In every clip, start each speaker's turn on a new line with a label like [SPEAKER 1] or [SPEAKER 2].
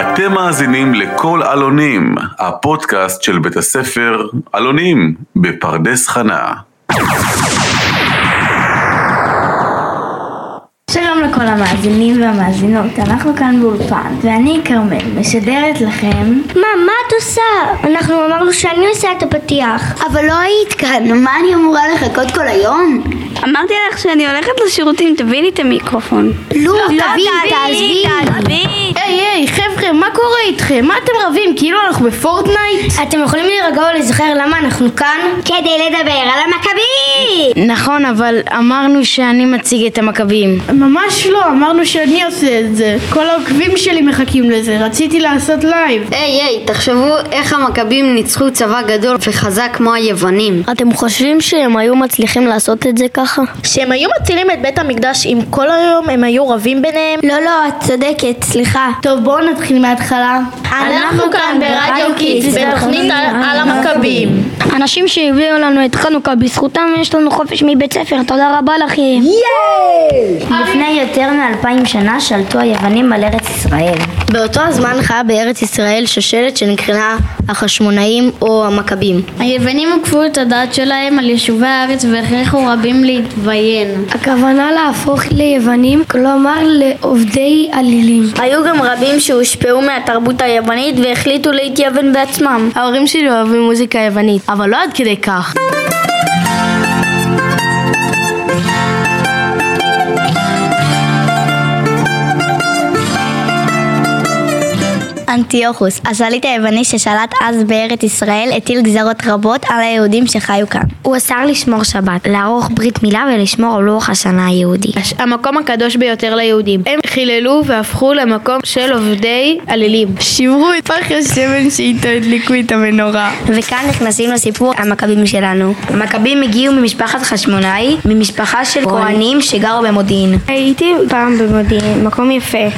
[SPEAKER 1] אתם מאזינים לכל עלונים, הפודקאסט של בית הספר עלונים בפרדס חנה.
[SPEAKER 2] שלום לכל המאזינים והמאזינות, אנחנו כאן באולפן, ואני כרמל, משדרת לכם...
[SPEAKER 3] מה, מה את עושה? אנחנו אמרנו שאני עושה את הפתיח.
[SPEAKER 4] אבל לא היית כאן, מה אני אמורה לחכות כל היום?
[SPEAKER 5] אמרתי לך שאני הולכת לשירותים, תביאי לי את המיקרופון.
[SPEAKER 4] לא, תביאי, תעזבי.
[SPEAKER 6] היי, היי, חבר'ה, מה קורה איתכם? מה אתם רבים? כאילו אנחנו בפורטנייט?
[SPEAKER 3] אתם יכולים להירגע ולהיזכר למה אנחנו כאן?
[SPEAKER 4] כדי לדבר על המכבי!
[SPEAKER 7] נכון, אבל אמרנו שאני מציג את המכבים.
[SPEAKER 6] ממש לא, אמרנו שאני עושה את זה. כל העוקבים שלי מחכים לזה, רציתי לעשות לייב.
[SPEAKER 8] היי, היי, תחשבו איך המכבים ניצחו צבא גדול וחזק כמו היוונים.
[SPEAKER 9] אתם חושבים שהם היו מצליחים לעשות את זה ככה?
[SPEAKER 10] שהם היו מצילים את בית המקדש אם כל היום הם היו רבים ביניהם?
[SPEAKER 3] לא, לא, את צודקת, סליחה.
[SPEAKER 2] טוב, בואו נתחיל מההתחלה.
[SPEAKER 6] אנחנו כאן ברדיו קיטס, בתוכנית על המכבים.
[SPEAKER 11] אנשים שהביאו לנו את חנוכה, בזכותם יש לנו חופש מבית ספר, תודה רבה לכם.
[SPEAKER 2] לפני יותר מאלפיים שנה שלטו היוונים על ארץ ישראל.
[SPEAKER 9] באותו הזמן חיה בארץ ישראל שושלת שנקראה החשמונאים או המכבים.
[SPEAKER 12] היוונים עקפו את הדת שלהם על יישובי הארץ והכריחו רבים להתביין.
[SPEAKER 13] הכוונה להפוך ליוונים, כלומר לעובדי אלילים.
[SPEAKER 14] היו גם רבים שהושפעו מהתרבות היוונית והחליטו להתייוון בעצמם.
[SPEAKER 7] ההורים שלי אוהבים מוזיקה יוונית, אבל לא עד כדי כך.
[SPEAKER 9] אנטיוכוס, השליט היווני ששלט אז בארץ ישראל, הטיל גזרות רבות על היהודים שחיו כאן. הוא אסר לשמור שבת, לערוך ברית מילה ולשמור על לוח השנה היהודי.
[SPEAKER 6] המקום הקדוש ביותר ליהודים. הם חיללו והפכו למקום של עובדי אלילים.
[SPEAKER 7] שברו את פח השמן שאיתו הדליקו את המנורה.
[SPEAKER 9] וכאן נכנסים לסיפור המכבים שלנו. המכבים הגיעו ממשפחת חשמונאי, ממשפחה של כהנים שגרו במודיעין.
[SPEAKER 12] הייתי פעם במודיעין, מקום יפה.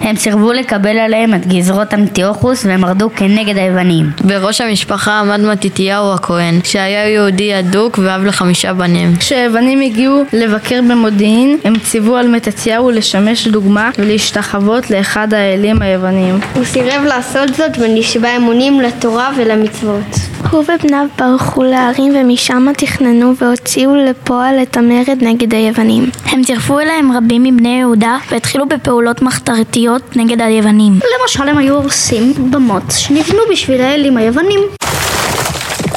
[SPEAKER 15] הם סירבו לקבל עליהם את גזרות אנטיוכוס והם מרדו כנגד היוונים.
[SPEAKER 16] בראש המשפחה עמד מתתיהו הכהן, שהיה יהודי אדוק ואב לחמישה בנים.
[SPEAKER 6] כשהיוונים הגיעו לבקר במודיעין, הם ציוו על מתתיהו לשמש דוגמה ולהשתחוות לאחד האלים היוונים.
[SPEAKER 3] הוא סירב לעשות זאת ונשבע אמונים לתורה ולמצוות.
[SPEAKER 13] הוא ובניו ברחו להרים ומשם תכננו והוציאו לפועל את המרד נגד היוונים. הם צירפו אליהם רבים מבני יהודה והתחילו בפעולות מחתרתיות נגד היוונים.
[SPEAKER 3] למשל הם היו הורסים במות שנבנו בשביל האלים היוונים.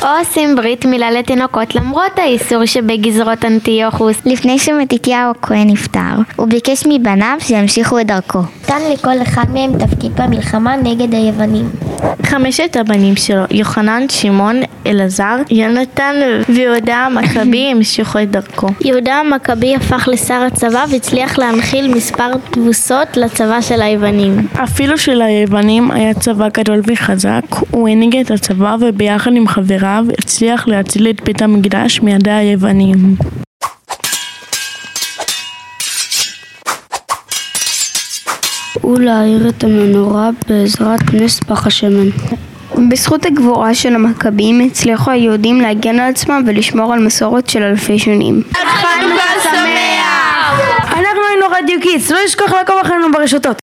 [SPEAKER 9] או עושים ברית מילה לתינוקות למרות האיסור שבגזרות אנטיוכוס. לפני שמתתיהו הכהן נפטר, הוא ביקש מבניו שימשיכו את דרכו.
[SPEAKER 3] נתן לכל אחד מהם תפקיד במלחמה נגד היוונים.
[SPEAKER 6] חמשת הבנים שלו, יוחנן, שמעון, אלעזר, יונתן ויהודה המכבי המשיכו את דרכו.
[SPEAKER 13] יהודה המכבי הפך לשר הצבא והצליח להנחיל מספר תבוסות לצבא של היוונים.
[SPEAKER 6] אפילו שליוונים היה צבא גדול וחזק, הוא הנהיג את הצבא וביחד עם חבריו הצליח להציל את בית המקדש מידי היוונים.
[SPEAKER 12] הוא להאיר את המנורה בעזרת נס פח השמן.
[SPEAKER 13] בזכות הגבורה של המכבים הצליחו היהודים להגן על עצמם ולשמור על מסורת של אלפי שנים.
[SPEAKER 6] חנוכה שמח!
[SPEAKER 17] אנחנו היינו רדיו קיץ, לא לשכוח לעקוב אחרינו ברשתות.